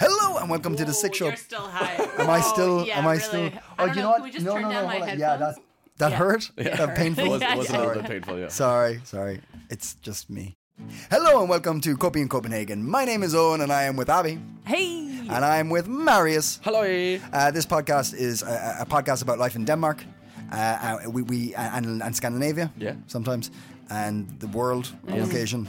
Hello and welcome to the Sick Show. You're still high. Oh, Am I still? Yeah, am I really. still? Oh, I don't you know. know what? Can we just no, turn no, no, down my hold on. headphones? Yeah, that's that hurt. That painful. Was- Yeah, was a little sorry. bit painful, yeah. Sorry, sorry. It's just me. Hello and welcome to Copy in Copenhagen. My name is Owen and I am with Abby Hey. and I am with Marius. Hello. Uh, this podcast is a, a podcast about life in Denmark, uh, uh, we, we and, and Scandinavia. Yeah. sometimes. And the world on Mm. occasion,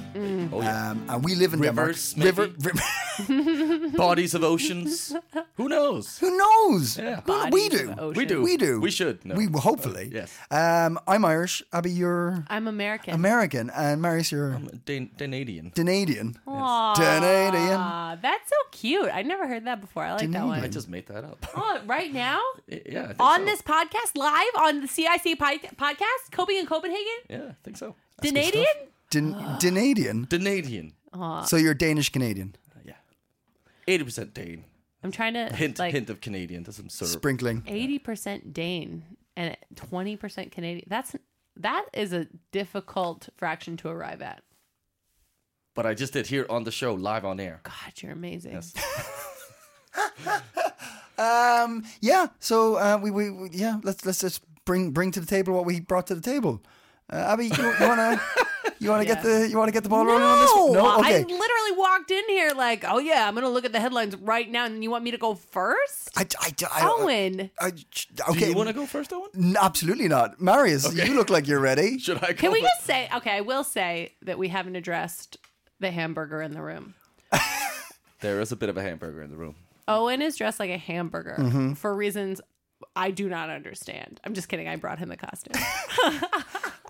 Oh, yeah. um, and we live in Rivers, Denmark. maybe? river, Uh, Bodies of oceans. Who knows? Who knows? Yeah. Who kn- we Bodies do. of ocean. We do. We do. We should. No. We hopefully. Yes. Um, I'm Irish. Abby, you're I'm American. American, and Marius, you're Dan- Danadian. Canadian. Aw, Canadian. That's so cute. I never heard that before. I like that I one. just made that up. Oh, right now yeah. I think on so. this podcast, live on the CIC pod- podcast, Coping in Copenhagen, Yeah, I think so. Danadian. Dan- Danadian. Danadian. So you're Danish Canadian. Yeah. 80% Dane. I'm trying to Hint like hint of Canadian. There's some syrup. Sprinkling. eighty percent Dane and twenty percent Canadian. That's that is a difficult fraction to arrive at. But I just did here on the show, live on air. God, you're amazing. Um, yeah. So uh, we, we we yeah. Let's let's just bring bring to the table what we brought to the table. Uh, Abby, you, you wanna you wanna get the you wanna get the ball rolling on this? one? No. I Okay. literally walked in here like, oh yeah, I'm gonna look at the headlines right now, and you want me to go first? I, I, I, I, Owen, I- Do okay. you want to go first, Owen? N- Absolutely not. Marius, you look like you're ready. Should I go can we first? just say? Okay, I will say that we haven't addressed the hamburger in the room. There is a bit of a hamburger in the room. Owen is dressed like a hamburger Mm-hmm. for reasons I do not understand. I'm just kidding. I brought him the costume.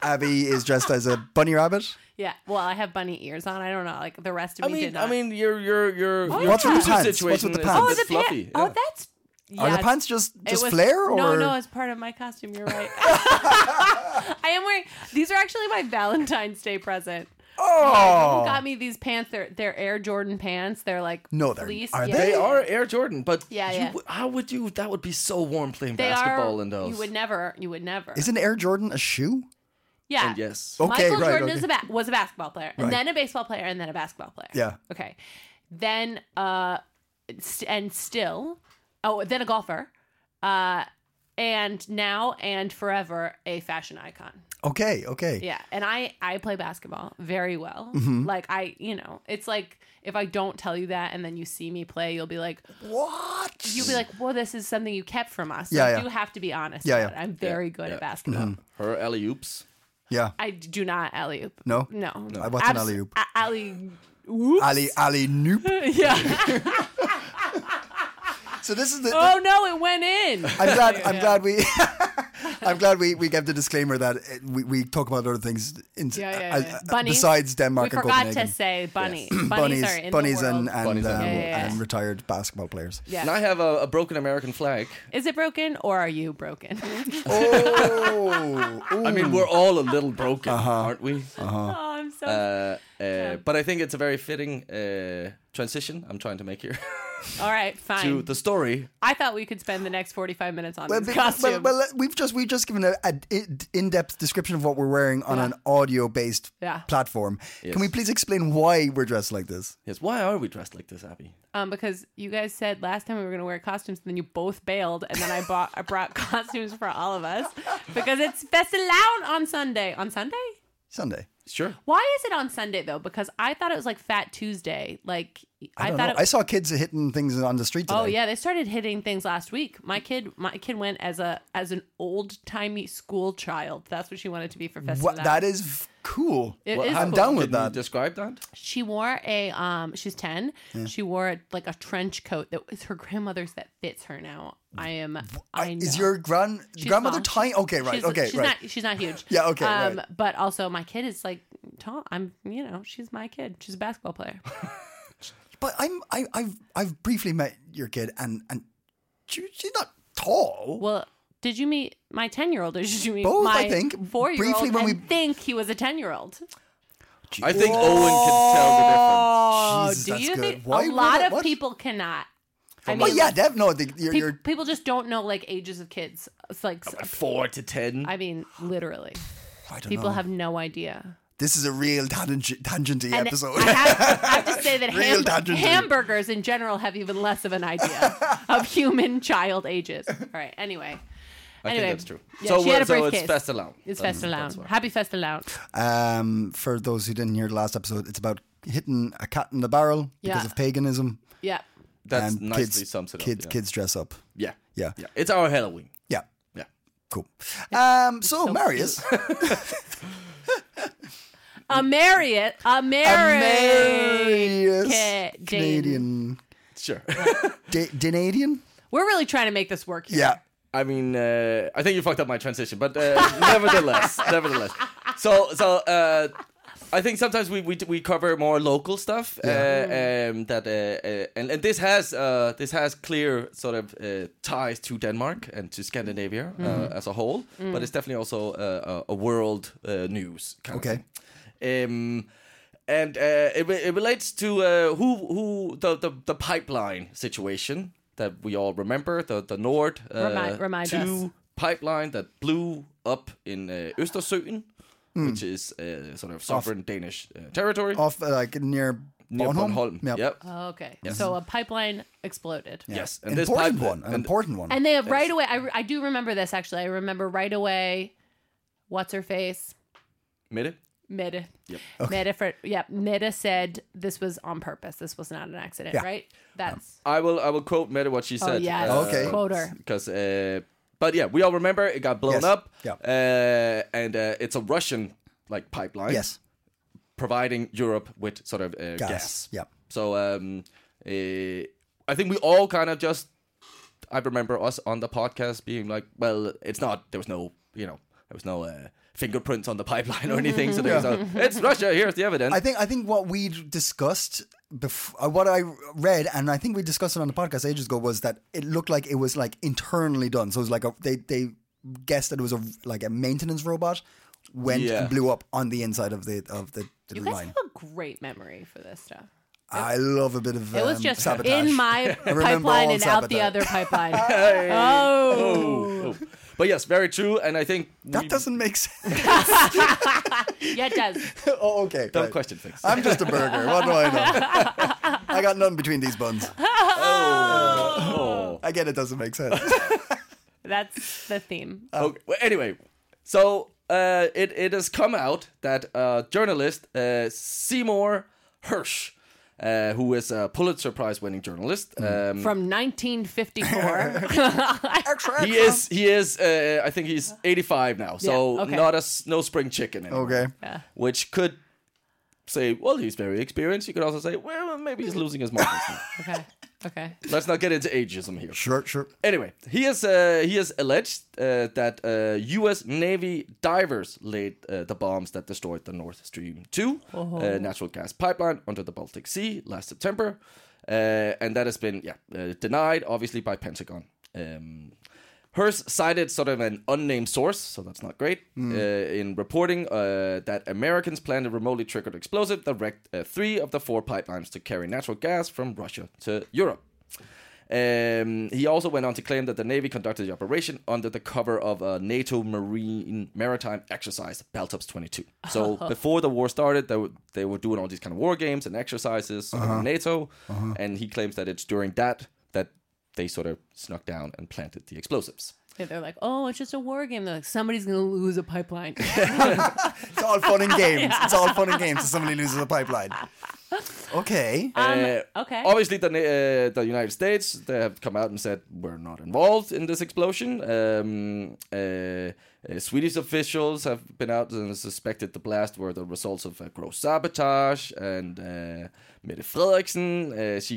Abby is dressed as a bunny rabbit. yeah. Well, I have bunny ears on. I don't know. Like the rest of I me did mean, not. I mean, your your your your What's with the pants? juicy What's situation with the is pants? a oh, bit the pa- fluffy. Oh, yeah. that's. Yeah, Are the it's- pants just It just was- flare or no no it's part of my costume you're right i am wearing these are actually my valentine's day present oh Who got me these pants they're, they're air jordan pants they're like No, they're- fleece. are yeah. They are Air Jordan, but Yeah, you yeah. would- how would you? That would be so warm playing They basketball are, in those. you would never you would never Isn't Air Jordan a shoe? yeah And yes. Okay, michael right, jordan okay. is a ba- was a basketball player and Right. then a baseball player and then a basketball player Yeah. okay then uh st- and still oh then a golfer uh and now and forever a fashion icon Okay, okay. Yeah, and I I play basketball very well. Mm-hmm. Like I, you know, it's like if I don't tell you that and then you see me play, you'll be like What? you'll be like, "Well, this is something you kept from us." Yeah, Like, yeah. You have to be honest. Yeah, about yeah. Mm-hmm. it. I'm very good at basketball. Her alley oops. Yeah. I do not alley oop. No? No. I- what's an alley-oop? Alley oop. Ali Ali Noop. yeah. So this is the, the- oh no, it went in. I'm glad I'm glad we I'm glad we, we gave the disclaimer that uh, we, we talk about other things in, Yeah, yeah, uh, yeah. uh, Bunnies. besides Denmark we and forgot Copenhagen. to say bunny. Bunnies, bunnies are in bunnies the world. and and, Bunnies are in um, the world. Yeah, and yeah. retired basketball players. And I have a, a broken American flag. Is it broken or are you broken? Oh, I mean, we're all a little broken, aren't we? oh, I'm so Uh, uh, but I think it's a very fitting uh, transition I'm trying to make here All right, fine. to the story. I thought we could spend the next 45 minutes on Well, these be- costumes. well, well, let- we've just we've just given a, a d- in-depth description of what we're wearing on an audio-based Yeah. platform. Can we please explain why we're dressed like this? Yes. Why are we dressed like this, Abby? um, because you guys said last time we were going to wear costumes, and then you both bailed, and then I bought I brought costumes for all of us because it's Festival on Sunday. On Sunday? Sunday. Sure. Why is it on Sunday though? Because I thought it was like Fat Tuesday. Like I, I, don't thought. know. It, I saw kids hitting things on the street today. Oh yeah, they started hitting things last week. My kid, my kid went as a as an old timey school child. That's what she wanted to be for Festival. What, that is f- cool. It is I'm cool. down with Can you that. describe that? She wore a um she's 10. She wore like a trench coat that was her grandmother's that fits her now. I am I know. uh, Is your grand She's grandmother small. tiny? Okay, right. She's- okay, she's right. not she's not huge. Yeah, okay, right. but also my kid is like Tom, I'm, you know, she's my kid. She's a basketball player. But I'm I, I've I've briefly met your kid, and and she, she's not tall. Well, did you meet my 10 year old or did you meet Both, my I think. four year Briefly old? when I we- think he was a 10 year old. I think Owen can tell the difference. Oh, Jesus, do that's you good. think Why a would lot it- of what? people cannot? I well, yeah, Dev. No, the, you're, pe- you're Oh, people just don't know like ages of kids. It's like, Four to ten. I mean, literally, I don't people know. have no idea. This is a real tangent, tangenty And episode. I have, I have to say that Real ham- dungeon dream. hamburgers in general have even less of an idea of human child ages. All right. Anyway. I anyway, think that's true. yeah, so she had we're- a so it's briefcase. Festa Lounge. It's That's- Festa Lounge. that's why. Happy Festa Lounge. um, for those who didn't hear the last episode, it's about hitting a cat in the barrel because Yeah. of paganism. Yeah. That's and nicely kids, sums it up. Kids, yeah. kids dress up. Yeah. Yeah. Yeah. It's our Halloween. Yeah, Yeah. cool. Um, so, so Marius, A Marriott. A Marriott. Marius, Ca- Dane. Canadian, Sure. da- Danadian. We're really trying to make this work here. Yeah, I mean, uh, I think you fucked up my transition, but uh, nevertheless, nevertheless. So, so uh, I think sometimes we we, we cover more local stuff uh, um, that, uh, uh, and, and this has uh, this has clear sort of uh, ties to Denmark and to Scandinavia uh, as a whole, but it's definitely also uh, a, a world uh, news. Kind Okay. Of thing. Um, and uh, it, re- it relates to uh, who who the, the the pipeline situation that we all remember the the Nord uh, Remind- remind two us. pipeline that blew up in uh, Østersøen, which is uh, sort of sovereign Danish uh, territory Hmm. off uh, like near near Bornholm. Bornholm. Yeah. Yep. Oh, Okay. So a pipeline exploded. Yes, and this important pipe- one. An and- important one. And they have right away. I, I do remember this actually. I remember right away. What's her face? Mette? Meta. Yep. Meta for yeah. Meta said this was on purpose. This was not an accident, Yeah. Um, right? That's I will I will quote Meta what she said. Oh, uh, yes. Okay. Quote her. Because uh, but yeah, we all remember it got blown Yes. up. Yeah. Uh, and uh, it's a Russian like pipeline. yes, Providing Europe with sort of uh, gas. gas. Yeah, So um, eh, I think we all kind of just I remember us on the podcast being like, well, it's not. There was no, you know, there was no uh, fingerprints on the pipeline or anything. So there's no it's Russia. Here's the evidence. I think I think what we discussed before, uh, what I read, and I think we discussed it on the podcast ages ago, was that it looked like it was like internally done. So it was like a, they they guessed that it was a like a maintenance robot went Yeah. and blew up on the inside of the of the, the you guys line. have a great memory for this stuff. I love a bit of It was um, just sabotage. in my remember pipeline all and out the sabotage. other pipeline. oh. Oh. But yes, very true. And I think we- that doesn't make sense. yeah, it does. oh, okay. Don't right. question things. I'm just a burger. What do I know? I got none between these buns. Oh. I get it doesn't make sense. That's the theme. Um, Okay. Well, anyway, so uh, it it has come out that uh, journalist uh, Seymour Hirsch, uh, who is a Pulitzer Prize winning journalist, Mm-hmm. um, From 1954. Extra, he extra. is he is uh, I think he's 85 now, so Yeah, okay. not a s- no spring chicken anymore. Okay. which could say well he's very experienced. You could also say well maybe he's losing his marbles. now. okay. Okay. Let's not get into ageism here. Sure, sure. Anyway, he has uh, he has alleged uh, that uh, U.S. Navy divers laid uh, the bombs that destroyed the Nord Stream two uh, natural gas pipeline under the Baltic Sea last September, uh, and that has been yeah uh, denied obviously by Pentagon. Um, Hearst cited sort of an unnamed source, so that's not great, uh, in reporting uh, that Americans planned a remotely triggered explosive that wrecked uh, three of the four pipelines to carry natural gas from Russia to Europe. Um, he also went on to claim that the Navy conducted the operation under the cover of a NATO Marine maritime exercise, Baltops 22. So before the war started, they were, they were doing all these kind of war games and exercises under NATO, and he claims that it's during that that they sort of snuck down and planted the explosives. Yeah, They're like, oh, it's just a war game. They're like, somebody's gonna lose a pipeline. It's all fun and games. It's all fun and games. So somebody loses a pipeline. Okay. Uh, okay. Obviously, the Na- uh, the United States they have come out and said we're not involved in this explosion. Um, uh, uh, Swedish officials have been out and suspected the blast were the results of a gross sabotage. And uh, Mette Frederiksen, uh, she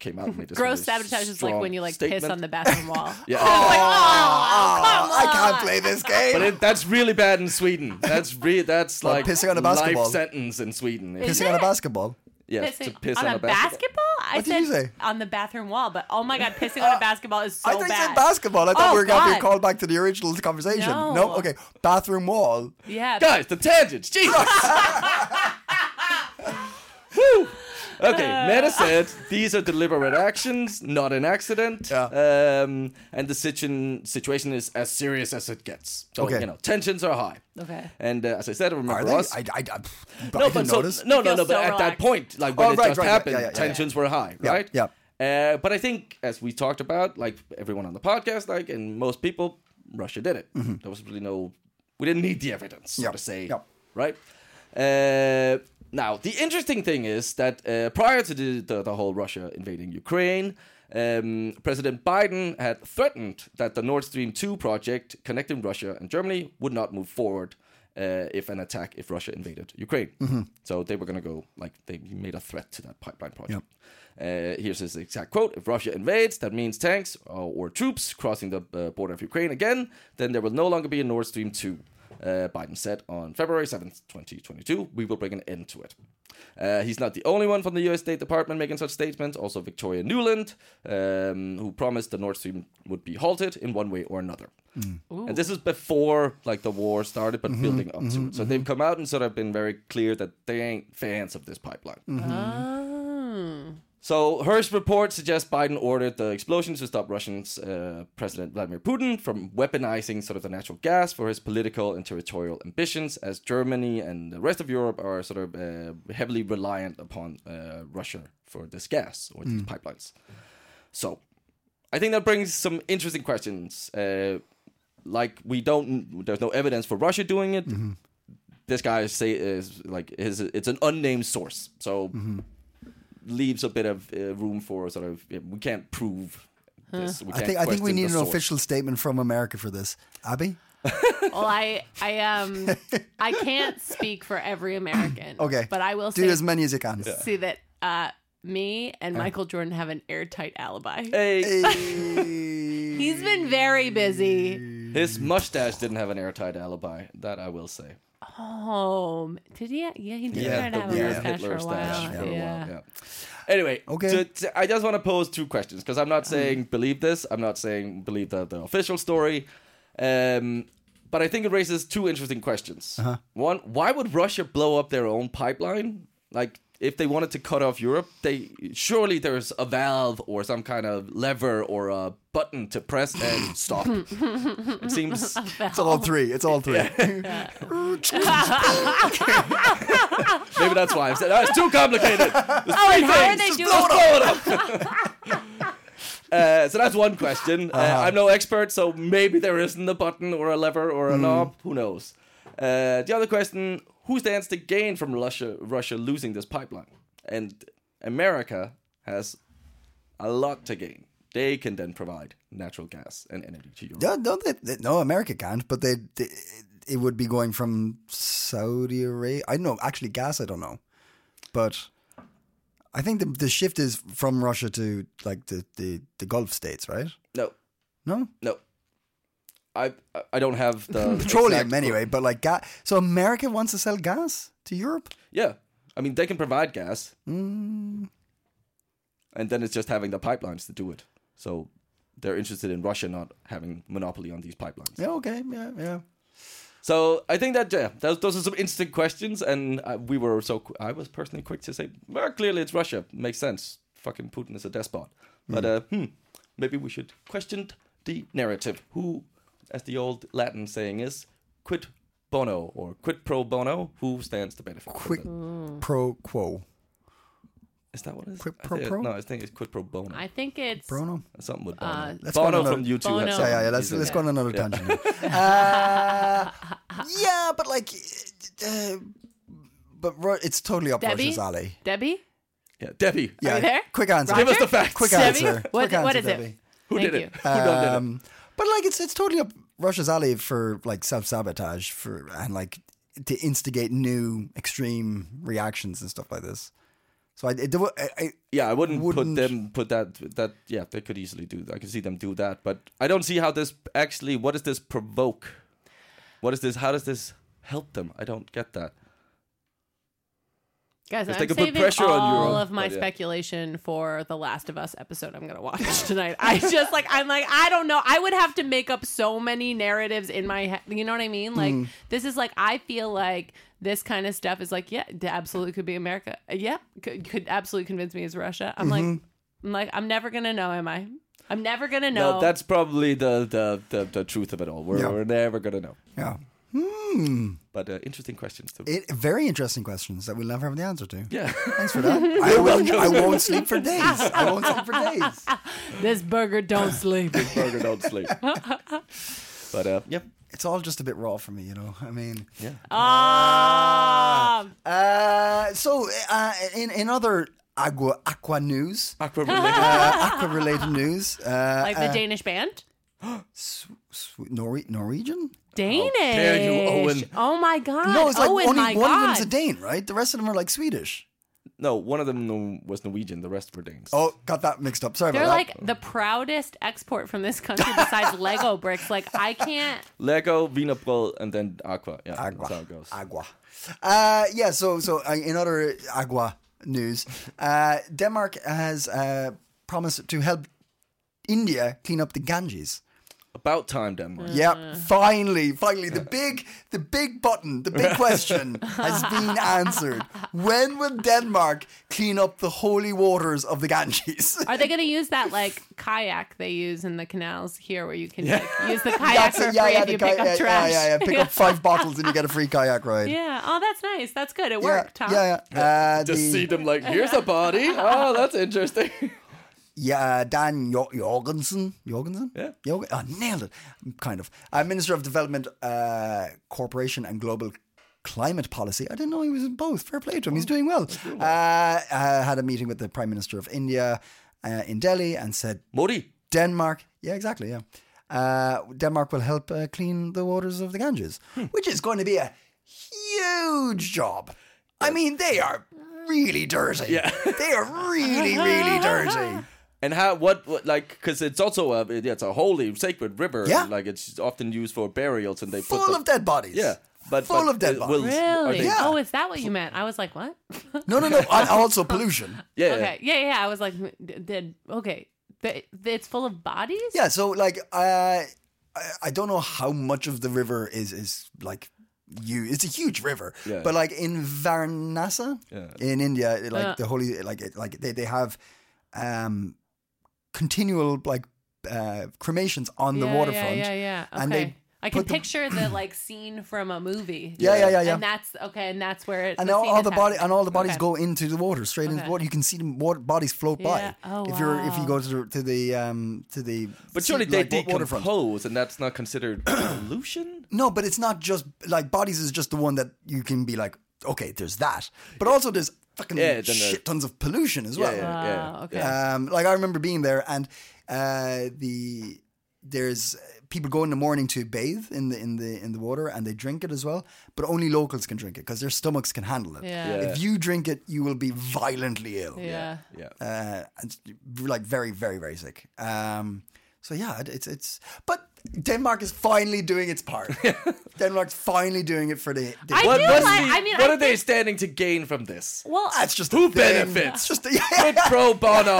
came out and made this Gross really sabotage is like strong when you like piss statement. on the bathroom wall. Yeah. Oh, I can't play this game. But it, that's really bad in Sweden. That's re- that's Well, like pissing on a life basketball. sentence in Sweden. If Pissing on a basketball. you- yeah, Pissing to piss on, a basketball? I What said did you say? on the bathroom wall, but oh my god, pissing on a basketball is so I thought bad. you said basketball. I thought Oh, we were going to be God. called back to the original conversation. No. Okay. Bathroom wall. Yeah. Guys, the tangents. Jesus. Woo. Okay, Uh. Meta said these are deliberate actions, not an accident. Um, and the situation situation is as serious as it gets. So Okay. you know tensions are high. Okay. And uh, as I said, remember Are they? I, us. I, I, I no, didn't but so, notice. no, no, Feels no. But so at that relaxed. point, like when Oh, it right, right, just right. happened, Yeah, yeah, yeah, yeah. tensions were high, Yeah, right? yeah. Uh, but I think, as we talked about, like everyone on the podcast, like and most people, Russia did it. Mm-hmm. There was really no, we didn't need the evidence Yeah, to say, yeah. right? Uh, now, the interesting thing is that uh, prior to the, the, the whole Russia invading Ukraine, um, President Biden had threatened that the Nord Stream 2 project connecting Russia and Germany would not move forward uh, if an attack, if Russia invaded Ukraine. So they were going to go, like, they made a threat to that pipeline project. Uh, here's his exact quote If Russia invades, that means tanks uh, or troops crossing the uh, border of Ukraine again, then there will no longer be a Nord Stream 2. Uh, Biden said on February 7th, 2022, we will bring an end to it. Uh, he's not the only one from the US State Department making such statements. Also, Victoria Newland, um, who promised the Nord Stream would be halted in one way or another. And this is before like the war started, but building up to it. So they've come out and sort of been very clear that they ain't fans of this pipeline. Oh. So Hearst report suggests Biden ordered the explosions to stop Russian's uh, President Vladimir Putin from weaponizing sort of the natural gas for his political and territorial ambitions, as Germany and the rest of Europe are sort of uh, heavily reliant upon uh, Russia for this gas or these pipelines. So I think that brings some interesting questions. Uh, like we don't, there's no evidence for Russia doing it. Mm-hmm. This guy say is like is it's an unnamed source, so Mm-hmm. leaves a bit of uh, room for sort of yeah, we can't prove this. We I can't think I think we need question the an source. official statement from America for this. Abby? Well, I I um I can't speak for every American. Okay. But I will Do say, as many Uh. as you can. see that uh me and Michael Jordan have an airtight alibi. Hey, Hey. He's been very busy. his mustache didn't have an airtight alibi. That I will say. Oh, did he? Yeah, he did Yeah, kind of have the a weird mustache Hitler for a while. stash for a while. yeah. Yeah. Anyway, Okay. to- to- I just want to pose two questions because I'm Um. not saying believe this. I'm not saying believe the, the official story. Um, but I think it raises two interesting questions. One, why would Russia blow up their own pipeline? Like, if they wanted to cut off Europe, they surely there's a valve or some kind of lever or a button to press and stop. it seems It's all three. It's all three. Maybe that's why I'm saying that's too complicated. There's Oh, three and how are things. they Just doing- blow it up. Uh, so that's one question. Uh, I'm no expert, so maybe there isn't a button or a lever or a knob. Who knows? Uh, the other question: Who stands to gain from Russia? Russia losing this pipeline, and America has a lot to gain. They can then provide natural gas and energy to Europe. No, no, they, they- no, America can't. But they, they, it would be going from Saudi Arabia. I don't know. Actually, gas. I don't know. But I think the the shift is from Russia to like the the, the Gulf states, right? No, No no. I I don't have the petroleum exact- anyway. But like gas. So America wants to sell gas to Europe. Yeah. I mean, they can provide gas. And then it's just having the pipelines to do it. So they're interested in Russia not having monopoly on these pipelines. Yeah. Okay. Yeah. Yeah. So I think that yeah, those, those are some interesting questions, and uh, we were so qu- I was personally quick to say, well, clearly it's Russia. Makes sense. Fucking Putin is a despot. But uh, hmm, maybe we should question the narrative. Who, as the old Latin saying is, quid bono or quid pro bono? Who stands to benefit? from Quick the- pro quo. Is that what it is? Quid I pro think- pro? No, I think it's quid pro bono. I think it's Prono. Something with Bono. Let's Bono go on from another- YouTube. Bono. has Yeah, yeah, yeah. something. Let's He's let's in go it. on another tangent. uh, yeah, but like, uh, but Ru- it's totally up Debbie. Russia's alley. Debbie, Yeah, Debbie. Yeah, you there? quick answer. Give us the Roger? facts. quick Debbie? answer. What- quick answer, what is it? Debbie. Who Thank did you. it? Who done did it? Um, but like, it's it's totally up Russia's alley for like self sabotage for and like to instigate new extreme reactions and stuff like this. So I, it, there were, I, I Yeah, I wouldn't, Wouldn't- put them put that that yeah, they could easily do I can see them do that, but I don't see how this actually what does this provoke? What is this how does this help them? I don't get that. Guys, If I'm they could put saving pressure all on you, of my but yeah. speculation for the Last of Us episode I'm going to watch tonight. I just like I'm like I don't know. I would have to make up so many narratives in my head. You know what I mean? Like this is like I feel like this kind of stuff is like yeah, it absolutely could be America. Yeah, could, could absolutely convince me it's Russia. I'm like I'm like I'm never going to know am I? I'm never going to know. No, that's probably the the, the, the truth of it all. We're, Yeah. we're never gonna know. yeah. Hmm. But uh, interesting questions to It, very interesting questions that we'll never have the answer to. yeah. Thanks for that. I, won't, I won't sleep for days. I won't sleep for days. this burger don't sleep. Burger don't sleep. but uh, yeah, It's all just a bit raw for me, you know. I mean, Ah. uh, so uh, in in other aqua aqua news, aqua related. uh, aqua related news, uh, like the Danish band? Norwe- Norwegian. Danish. you, Owen. Oh my god. No, it's like Owen, only my one of god. them's a Dane, right? The rest of them are like Swedish. no, one of them no- was Norwegian. The rest were Danes. Oh, got that mixed up. Sorry They're about like the proudest export from this country besides Lego bricks. Like I can't. Lego, Wienerbrot, and then aqua. Yeah, that. that's how it Agua. goes. Agua. Uh, yeah. So so uh, in other agua news, uh, Denmark has uh, promised to help India clean up the Ganges. About time, Denmark. Mm. Yeah, finally, finally, the big, the big button, the big question has been answered. When will Denmark clean up the holy waters of the Ganges? Are they going to use that like kayak they use in the canals here, where you can like, use the kayak That's for it, free if the you guy- pick yeah, up trash? yeah, yeah, Pick up five bottles and you get a free kayak ride. Yeah. Oh, that's nice. That's good. It yeah, worked, Tom. yeah. yeah. Uh, Just the- see them like, here's a body. Oh, that's interesting. Yeah, uh, Dan jo- Jorgensen. Jorgensen? Yeah. Jorg- oh, nailed it. Kind of. Uh, Minister of Development, uh, Corporation and Global Climate Policy. I didn't know he was in both. Fair play to him. He's doing well. Uh, uh, had a meeting with the Prime Minister of India uh, in Delhi and said, Modi. Denmark. Yeah, exactly. Yeah. Uh, Denmark will help uh, clean the waters of the Ganges, which is going to be a huge job. I mean, they are really dirty. Yeah. they are really, really dirty. And how? What? what like? Because it's also a yeah, it's a holy sacred river. Yeah. Like it's often used for burials, and they put full the, of dead bodies. Yeah, but full but of dead it bodies. will- are Really? they- Yeah. Oh, is that what you meant? I was like, what? No, no, no. and also pollution. yeah, yeah. Okay. Yeah, yeah. I was like, d- did okay. Th- It's full of bodies. Yeah. So like, uh, I I don't know how much of the river is is like you. It's a huge river. Yeah. But like in Varanasi in India, it, like the holy, like it, like they they have um continual like uh cremations on the yeah, waterfront. Yeah, yeah, yeah. And Okay. they I can put them- picture the like scene from a movie. Yeah, yeah, yeah, yeah. And that's okay, and that's where it and the all, scene all is the body happening. and all the bodies Okay. go into the water straight into the Okay. water. You can see the water, bodies float by Yeah. Oh, if you're if you wow. go to the to the um to the But sea- surely they like, wa- waterfront. decompose, and that's not considered pollution. No, but it's not just like bodies is just the one that you can be like okay, there's that, but also there's fucking Yeah, then shit there- tons of pollution as well. yeah, yeah. okay. Um, like I remember being there, and uh, the there's uh, people go in the morning to bathe in the in the in the water, and they drink it as well. But only locals can drink it because their stomachs can handle it. Yeah. Yeah. If you drink it, you will be violently ill. yeah. Yeah. Uh, and like very very very sick. Um, so yeah, it- it's it's but. Denmark is finally doing its part. Denmark's finally doing it for the. the I What, do what's like- the- I mean, what I are they standing to gain from this? Well, That's just Who a thing. benefits? It's just a, Quid pro bono.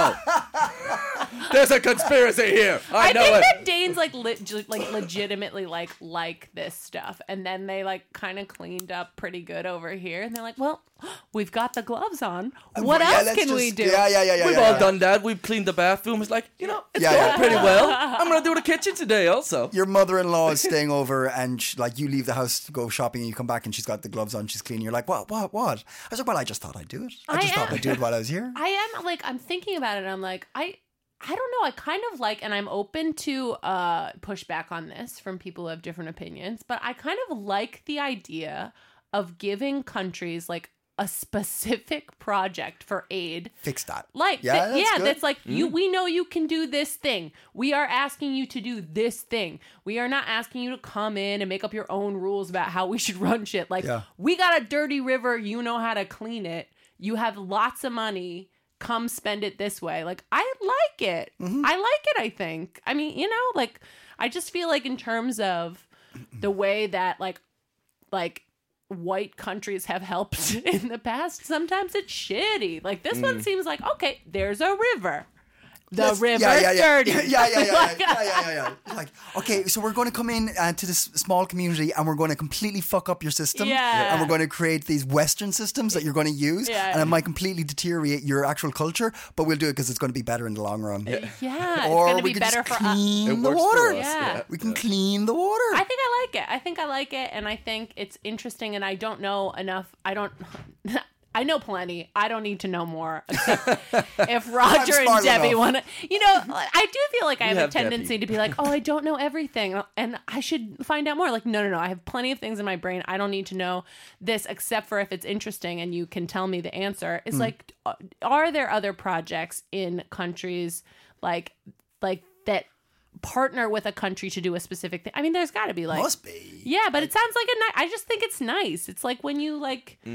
There's a conspiracy here. I, I know think it. that Danes like leg- like legitimately like like this stuff, and then they like kind of cleaned up pretty good over here, and they're like, "Well, we've got the gloves on. What Yeah, else let's can we just- do?" Yeah, yeah, yeah, yeah. We've yeah, all yeah. done that. We've cleaned the bathroom. It's like, you know, it's Yeah, going yeah. pretty well. I'm going to do the kitchen today also. your mother-in-law is staying over and she, like you leave the house to go shopping and you come back and she's got the gloves on she's clean you're like what what what i was like well i just thought i'd do it i I just thought am- i'd do it while i was here I am like I'm thinking about it and I'm like I I don't know I kind of like and I'm open to uh pushback on this from people who have different opinions but I kind of like the idea of giving countries like a specific project for aid fix that like Yeah, yeah, that's yeah good. Mm-hmm. that's like you we know you can do this thing. We are asking you to do this thing. We are not asking you to come in and make up your own rules about how we should run shit. Like Yeah. we got a dirty river, you know how to clean it. you have lots of money. Come spend it this way. Like I like it. Mm-hmm. I like it. I think. I mean, you know, like I just feel like in terms of the way that like like white countries have helped in the past. Sometimes it's shitty. Like this Mm. one seems like okay, there's a river. The Let's- river's yeah, yeah, yeah. dirty. Yeah, yeah, yeah, yeah, yeah, yeah, yeah, yeah. Like, okay, so we're going to come in uh, to this small community and we're going to completely fuck up your system. Yeah. And we're going to create these Western systems that you're going to use. Yeah. And it might completely deteriorate your actual culture, but we'll do it because it's going to be better in the long run. Yeah, it's Or gonna we be could better for just us. clean It the works water. for us. Yeah. We can clean the water. I think I like it. I think I like it, and I think it's interesting. And I don't know enough. I don't. I know plenty. I don't need to know more. Except if Roger and smart Debbie enough. want to, you know, I do feel like I have, have a Debbie. tendency to be like, oh, I don't know everything, and I should find out more. Like, no, no, no. I have plenty of things in my brain. I don't need to know this, except for if it's interesting and you can tell me the answer. It's like, uh, are there other projects in countries like, like that? partner with a country to do a specific thing. I mean there's got to be like Must be. yeah, but it sounds like a nice. I just think it's nice. It's like when you like, I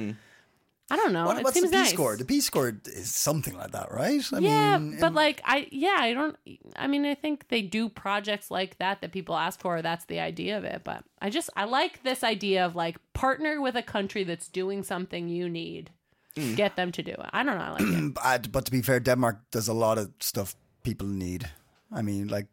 don't know. Mm. What, it what's the seems P nice. score? The P score is something like that, right? I yeah, mean, but like I, yeah, I don't. I mean, I think they do projects like that that people ask for. That's the idea of it. But I just I like this idea of like partner with a country that's doing something you need, Mm. get them to do it. I don't know. I like it. but, but to be fair, Denmark does a lot of stuff people need. I mean, like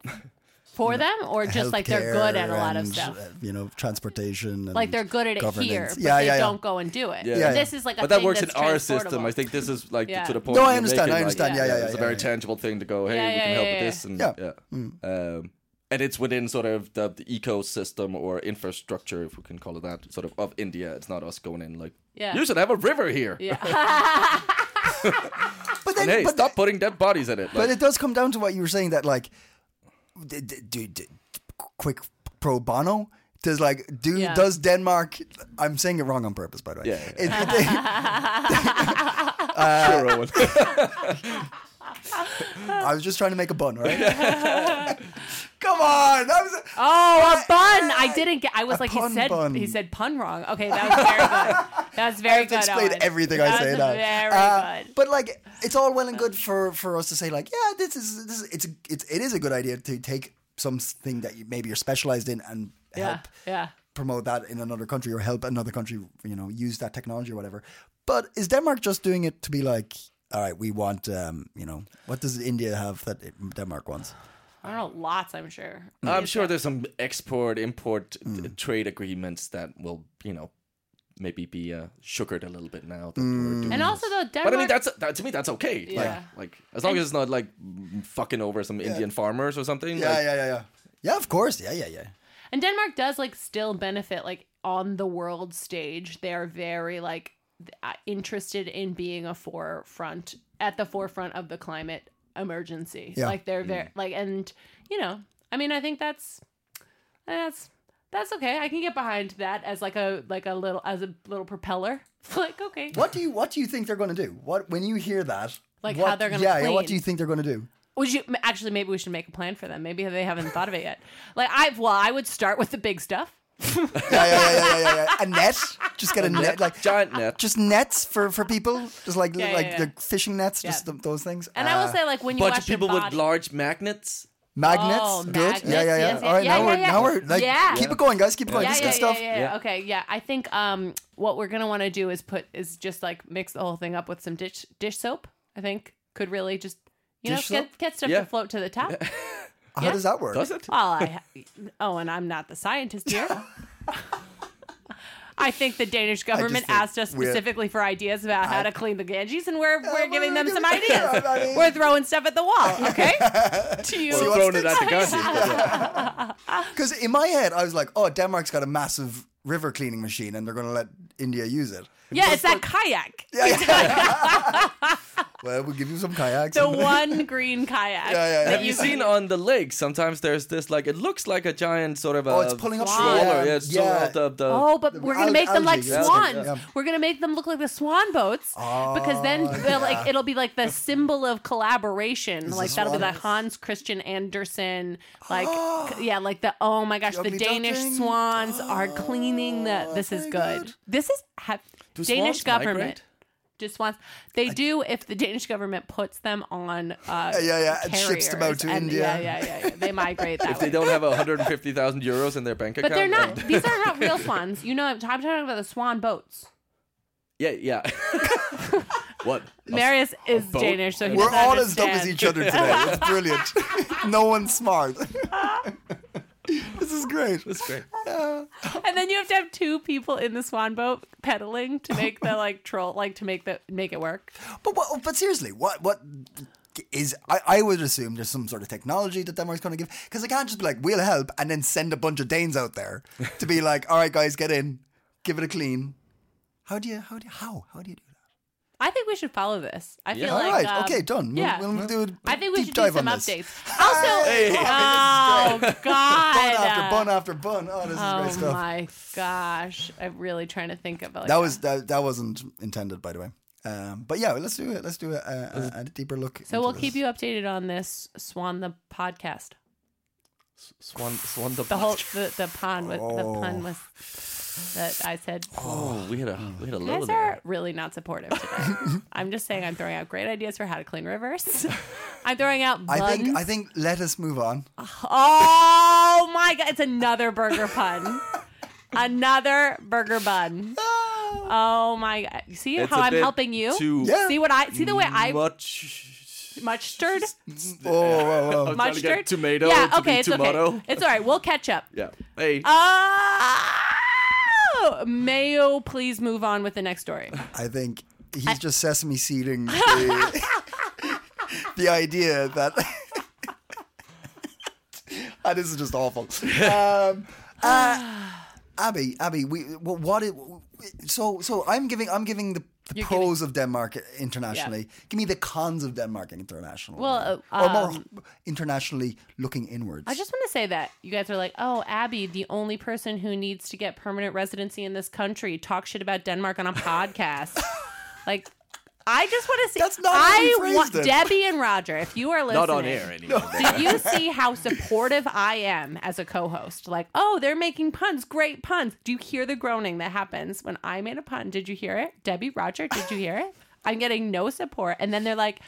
for them, or just like they're good at a lot of Mm. healthcare stuff. and, uh, You know, transportation. And Like they're good at it governance. here, but yeah, they yeah, yeah. don't go and do it. Yeah. Yeah, This yeah. is like a but that thing works in that's our system. transportable. I think this is like Yeah. to the point. No, I you're understand, making, I understand. Like, Yeah, yeah, It's a yeah, very yeah. tangible thing to go. Hey, Yeah, we yeah, can help yeah, with yeah. this, and yeah, Yeah. Mm. Um, and it's within sort of the, the ecosystem or infrastructure, if we can call it that, sort of of India. It's not us going in like, Yeah. you should have a river here. But then, And hey, but, stop putting dead bodies in it. but Like, it does come down to what you were saying that like, d- d- do, d- quick pro bono. Does like do Yeah. does Denmark? I'm saying it wrong on purpose, by the way. Yeah, yeah, It- but they- sure, Owen. I was just trying to make a bun, right? Come on, that was. Oh, a bun! I didn't get. I was A like, he pun said bun. he said pun wrong. Okay, that was very good. That was very I have to good. explain Owen. everything that I say was now. Very Uh. Uh, good. But like, it's all well and good for for us to say like, yeah, this is this is, it's a- it's it is a good idea to take something that you, maybe you're specialized in and yeah, help yeah. promote that in another country or help another country, you know, use that technology or whatever. But is Denmark just doing it to be like, all right, we want, um, you know, what does India have that it- Denmark wants? I don't know. Lots, I'm sure. I'm sure there's some export import uh, Mm. trade agreements that will, you know, maybe be uh, sugared a little bit now. That Mm. we're doing And this. also though, Denmark. But I mean, that's that, to me. That's okay. Yeah. Like, like as long as it's not like fucking over some Indian farmers or something. Yeah, like, yeah, yeah, yeah. Yeah, of course. Yeah, yeah, yeah. And Denmark does like still benefit like on the world stage. They're very like th- uh, interested in being a forefront at the forefront of the climate emergency. Yeah. Like Mm. they're very like and you know, I mean I think that's that's that's okay. I can get behind that as like a like a little as a little propeller. like okay. What do you what do you think they're going to do? What when you hear that? Like what- how they're gonna yeah, yeah. What clean. do you think they're going to do? Would you actually? Maybe we should make a plan for them. Maybe they haven't thought of it yet. Like I've well, I would start with the big stuff. yeah, yeah, yeah, yeah, yeah, yeah. A net. Just get a, net, Net, like giant net. just nets for for people. Just like Yeah, yeah, like yeah. the fishing nets. Just Yeah. th those things. Ah. And I will say, like when you bunch watch of people your with body, large magnets. magnets. Oh, good. magnets, yeah, yeah, yeah. yes, yes, All right, yeah, now yeah, we're yeah. now we're like Yeah. keep it going, guys. Keep it going. yeah, This yeah, good stuff. Yeah, yeah, Yeah. Okay, yeah. I think um, what we're gonna want to do is put is just like mix the whole thing up with some dish dish soap. I think could really just you Dish soap? know get, get stuff Yeah. to float to the top. How does that work? Does it? Well, I oh, and I'm not the scientist here. I think the Danish government think asked us we're- specifically for ideas about how to clean the Ganges, and we're we're giving them we're some giving- ideas. Yeah, I mean- we're throwing stuff at the wall, okay? to you, We're throwing it at the Gandhi. but yeah. Because in my head, I was like, oh, Denmark's got a massive river cleaning machine, and they're going to let India use it. yeah, it's that kayak, Well, we'll give you some kayaks. the and- one green Yeah, kayak. yeah, yeah. that Have you can- seen on the lake? Sometimes there's this like it looks like a giant sort of. Oh, a it's pulling up Wow. trawler. yeah, Yeah, it's yeah. sort of the, the Oh, but we're gonna al- make them like algae, yeah, swans. yeah. Oh, We're gonna make them look like the swan boats because then they'll, like it'll be like the symbol of collaboration. like that'll be swan like boats? Hans Christian Andersen. Like c- yeah, like the oh my gosh, the Ugly Danish duckling? swans are cleaning the. This is Oh, very good. good. This is ha- Do Danish swans government. migrate? Just wants they do if the Danish government puts them on uh, yeah, yeah, and ships them out carriers to and- India. Yeah, yeah, yeah, yeah. They migrate that If they way. don't have 150,000 euros in their bank account. But they're not. then- These are not real swans. You know, I'm talking about the swan boats. Yeah, yeah. what? Marius is boat? Danish, so he We're doesn't all as dumb as understand. each other today. It's brilliant. no one's smart. this is great. That's great. And then you have to have two people in the swan boat pedaling to make the like troll, like to make the make it work. But what, but seriously, what what is I, I would assume there's some sort of technology that Denmark's going to give because I can't just be like we'll help and then send a bunch of Danes out there to be like, all right, guys, get in, give it a clean. How do you how do you, how how do you do that? I think we should follow this. I feel all like right, um, okay, done. We'll, yeah. we'll do a I think we deep should do dive some on this. updates. Also, Hey, oh Bun god, after bun after bun. Oh, this is great uh, oh stuff. my gosh, I'm really trying to think of like That was that, that wasn't intended, by the way. Um, but yeah, let's do it. Let's do a, a, a, a deeper look. So we'll keep you updated on this Swan the podcast. Swan, swan the, The whole the, the pun was the Oh. pun was that I said. Oh, we had a we had a You little guys there. are really not supportive today. I'm just saying I'm throwing out great ideas for how to clean rivers. I'm throwing out buns. I think I think let us move on. oh my god, it's another burger pun. Another burger Ah. bun. Oh my god. See It's how a I'm bit helping you? too Yeah. See what I see the way I much. much stirred Oh, whoa, whoa. I'm trying to get mustard tomato Yeah, to be okay, it's tomato. okay. It's all right. We'll catch up. Yeah. Hey. Oh, Mayo, please move on with the next story. I think he's just sesame seeding the, the idea that. Ah, this is just awful. Um, uh, Abby, Abby, we wh- what it, so so I'm giving I'm giving the, the You're pros of Denmark internationally. Give me the cons of Denmark internationally. Well, uh, or more internationally looking inwards. I just want to say that you guys are like, oh, Abby, the only person who needs to get permanent residency in this country, talk shit about Denmark on a podcast. like, I just want to see. That's not how I you phrased it. Debbie and Roger. If you are listening, Not on air anymore. Do you see how supportive I am as a co-host? Like, oh, they're making puns, great puns. Do you hear the groaning that happens when I made a pun? Did you hear it, Debbie Roger? Did you hear it? I'm getting no support, and then they're like,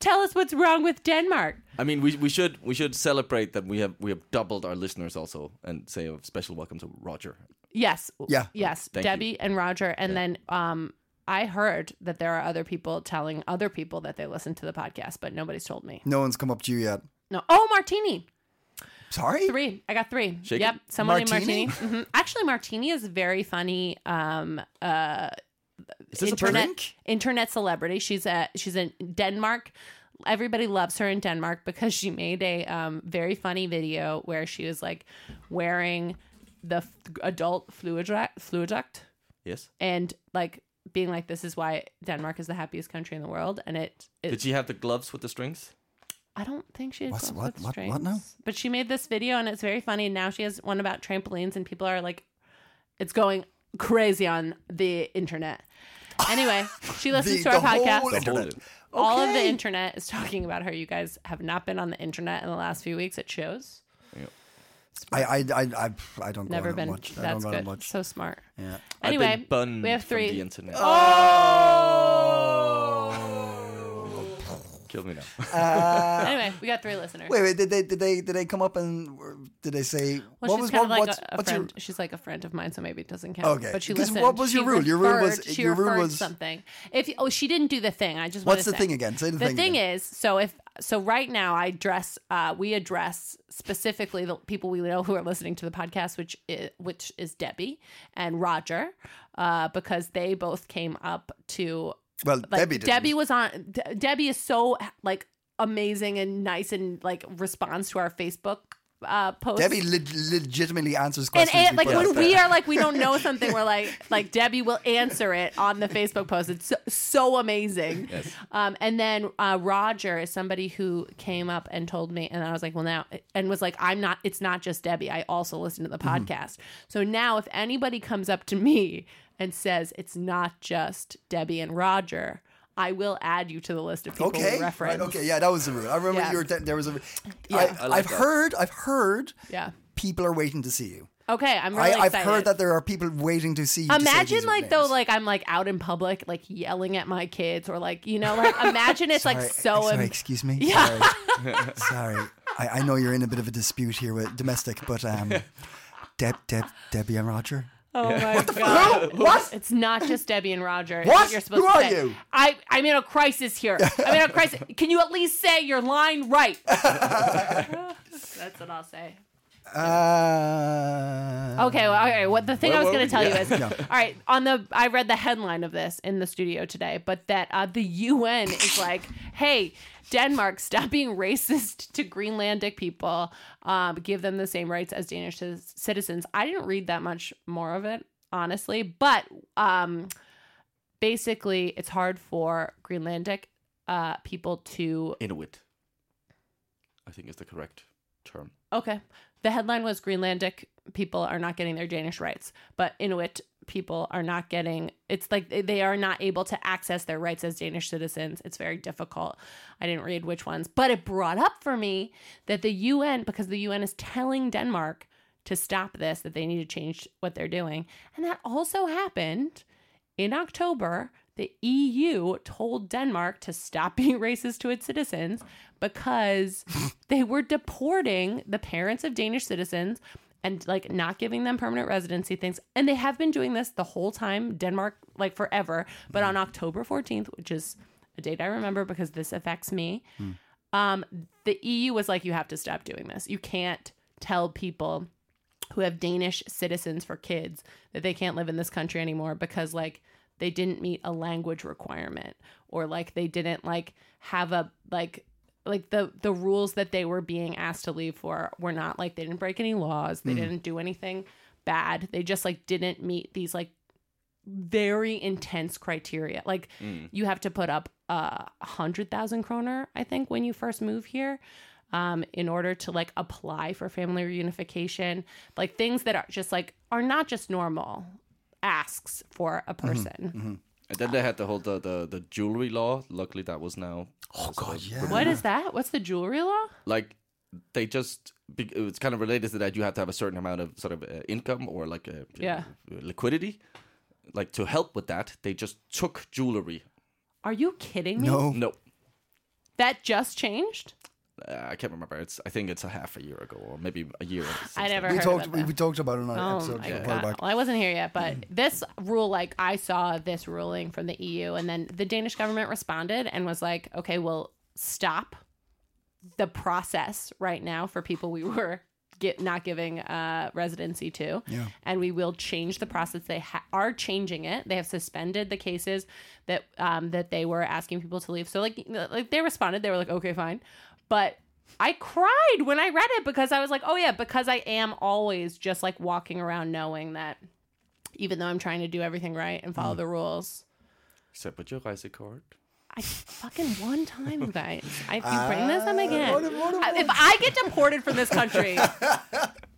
"Tell us what's wrong with Denmark." I mean, we, we should we should celebrate that we have we have doubled our listeners also, and say a special welcome to Roger. Yes, Yeah. yes, Thank Debbie and Roger, and then um, I heard that there are other people telling other people that they listen to the podcast, but nobody's told me. no one's come up to you yet. No, oh, Martini. Sorry, Three. I got three. Shake yep. it. Someone Martini? named Martini. Mhm. Actually, Martini is very funny. Um, uh, Is this a internet person? internet celebrity. She's a she's in Denmark. Everybody loves her in Denmark because she made a um, very funny video where she was like wearing the f- adult fluid fluiduct Yes. and like being like this is why Denmark is the happiest country in the world and it, it Did she have the gloves with the strings? I don't think she had What's- gloves what- with what- strings. what now? But she made this video and it's very funny. And now she has one about trampolines and people are like, it's going crazy on the internet. Anyway, she listens The- to our the podcast. whole internet. All of the Okay. internet is talking about her. You guys have not been on the internet in the last few weeks. It shows. I I I I, I don't go Never on it been. much. I don't That's go on it good. much. So smart. yeah. I've Anyway, been banned we have from three. Oh. the internet. Kill me now. anyway, we got three listeners. Wait, wait, did they did they did they come up and were- did they say what Well, she's was kind what, of like what's, a, a what's friend. your She's like a friend of mine, so maybe it doesn't count. Okay, but she 'cause listened. what was your She rule? Your rule was- referred- she your rule referred was- something. If oh, she didn't do the thing. I just What's the wanna say. thing again? Say the the thing thing is, so if so, right now I address uh, we address specifically the people we know who are listening to the podcast, which is, which is Debbie and Roger, uh, because they both came up to well like Debbie did. was on. De- Debbie is so like amazing and nice and like responds to our Facebook uh, posts. Debbie leg- legitimately answers and questions. and we like put when out we there. are like we don't know something we're like like debbie will answer it on the facebook post it's so, so amazing um, and then uh, roger is somebody who came up and told me and i was like well now and was like i'm not it's not just debbie i also listen to the Mm-hmm. podcast so now if anybody comes up to me and says it's not just debbie and roger i will add you to the list of people okay, we reference right, okay, yeah, that was the rule. I remember Yeah. you were there was a. Yeah. I, have heard, I've heard. Yeah. people are waiting to see you. Okay, I'm really I, I've excited. heard that there are people waiting to see. You to say Imagine these like though, names. like I'm like out in public, like yelling at my kids, or like you know, like imagine it's like so. Sorry, em- excuse me. Yeah. Sorry. Sorry. I, I know you're in a bit of a dispute here with domestic, but um, Deb, Deb, Debbie, and Roger. Oh my god! What? It's not just Debbie and Roger. It's What? You're supposed Who to are say. you? I I'm in a crisis here. I'm in a crisis. Can you at least say your line right? That's what I'll say. Uh, Okay, well, okay. What the thing Where I was were going we? to tell Yeah. you is, all right. On the, I read the headline of this in the studio today, but that uh, the UN is like, hey, Denmark, stop being racist to Greenlandic people. Um, give them the same rights as Danish c- citizens. I didn't read that much more of it, honestly, but um, basically, it's hard for Greenlandic uh, people to Inuit. I think is the correct term. Okay. The headline was Greenlandic people are not getting their Danish rights, but Inuit people are not getting it's like they- they are not able to access their rights as Danish citizens. It's very difficult. I didn't read which ones, but it brought up for me that the UN because the UN is telling Denmark to stop this that they need to change what they're doing. And that also happened in October, the EU told Denmark to stop being racist to its citizens because they were deporting the parents of Danish citizens and like not giving them permanent residency things. And they have been doing this the whole time, Denmark, like forever. But on October 14th, which is a date I remember because this affects me, um, the EU was like, you have to stop doing this. You can't tell people who have Danish citizens for kids that they can't live in this country anymore because like they didn't meet a language requirement or like they didn't like have a like like the the rules that they were being asked to leave for were not like they didn't break any laws they didn't do anything bad they just like didn't meet these like very intense criteria like Mm. you have to put up a hundred thousand kroner i think when you first move here um, in order to like apply for family reunification, like things that are just like are not just normal asks for Mm-hmm. a person. And then they had the whole the, the, the jewelry law. Luckily, that was now. Oh god, yeah. What is that? What's the jewelry law? Like they just be- it's kind of related to that. You have to have a certain amount of sort of uh, income or like uh, Yeah. liquidity. Like to help with that, they just took jewelry. Are you kidding me? no. No, That just changed? uh, I can't remember. It's I think it's a half a year ago or maybe a year. since I then. never We heard talked. about We, that. we talked about it on an Oh episode my a while God. back. Mm-hmm. Well, I wasn't here yet, but this rule, like, I saw this ruling from the EU, and then the Danish government responded and was like, okay, well, stop the process right now for people we were get, not giving uh, residency to. Yeah. And we will change the process. They ha- are changing it. They have suspended the cases that um, that they were asking people to leave. So like like they responded. They were like, okay, fine. But I cried when I read it because I was like, oh yeah, because I am always just like walking around knowing that even though I'm trying to do everything right and follow the rules. Except with your reise card. I fucking one time, you guys. I, if you bring this up again, what a- what a- I- Ah, if I get deported from this country